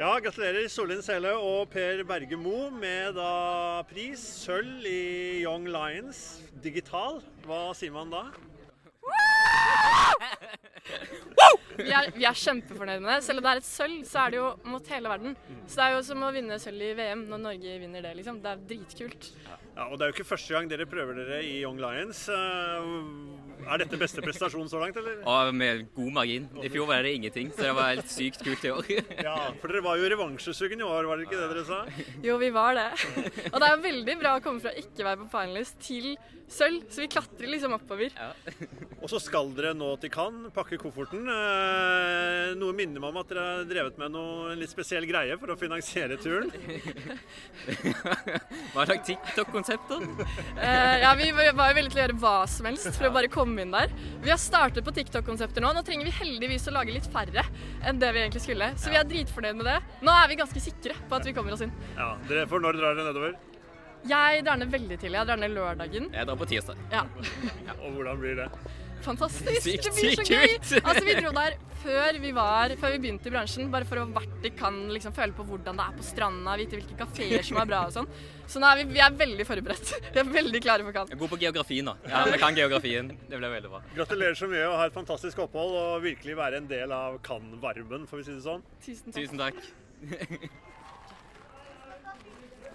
Ja, gratulerer Solin Sele og Per Berge Mo med da pris, sølv i Young Lions digital. Hva sier man da? Vi er, vi er kjempefornøyde med det. Selv om det er et sølv, så er det jo mot hele verden. Så det er jo som å vinne sølv i VM når Norge vinner det, liksom. Det er dritkult. Ja, og Det er jo ikke første gang dere prøver dere i Young Lions. Eh, Er dette beste prestasjon så langt, eller? Og med god margin. I fjor var det ingenting, så det var helt sykt kult i år. Ja, for dere var jo revansjesugen i år, var det ikke det dere sa? Jo, vi var det. Og det er jo veldig bra å komme fra ikke være på finalist til sølv, så vi klatrer liksom oppover. Og så skal dere nå til Cannes, pakke kofferten. Eh, Noe minner meg om at dere har drevet med noe, en litt spesiell greie for å finansiere turen. Hva slags TikTok-konsept, da? Eh, ja, vi var jo villige til å gjøre hva som helst for å bare komme inn der. Vi har startet på TikTok-konsepter nå. Nå trenger vi heldigvis å lage litt færre enn det vi egentlig skulle. Så vi er dritfornøyd med det. Nå er vi ganske sikre på at vi kommer oss inn. Ja, dere For når drar dere nedover? Jeg drar ned veldig tidlig. Jeg drar ned lørdagen. Jeg drar på tirsdag. Ja. Og hvordan blir det? Fantastisk! Sykt, det blir så sykt gøy! kult. Altså, vi dro der før vi, var, før vi begynte i bransjen, bare for å vært i kan liksom, føle på hvordan det er på stranda, vite hvilke kafeer som er bra og sånn. Så nå er vi, vi er veldig forberedt. Vi er veldig klare for kan. Jeg er god på geografien, da. Ja, jeg kan geografien. Det ble veldig bra. Gratulerer så mye og ha et fantastisk opphold og virkelig være en del av Cannes-varmen, for å si det sånn. Tusen takk. Tusen takk.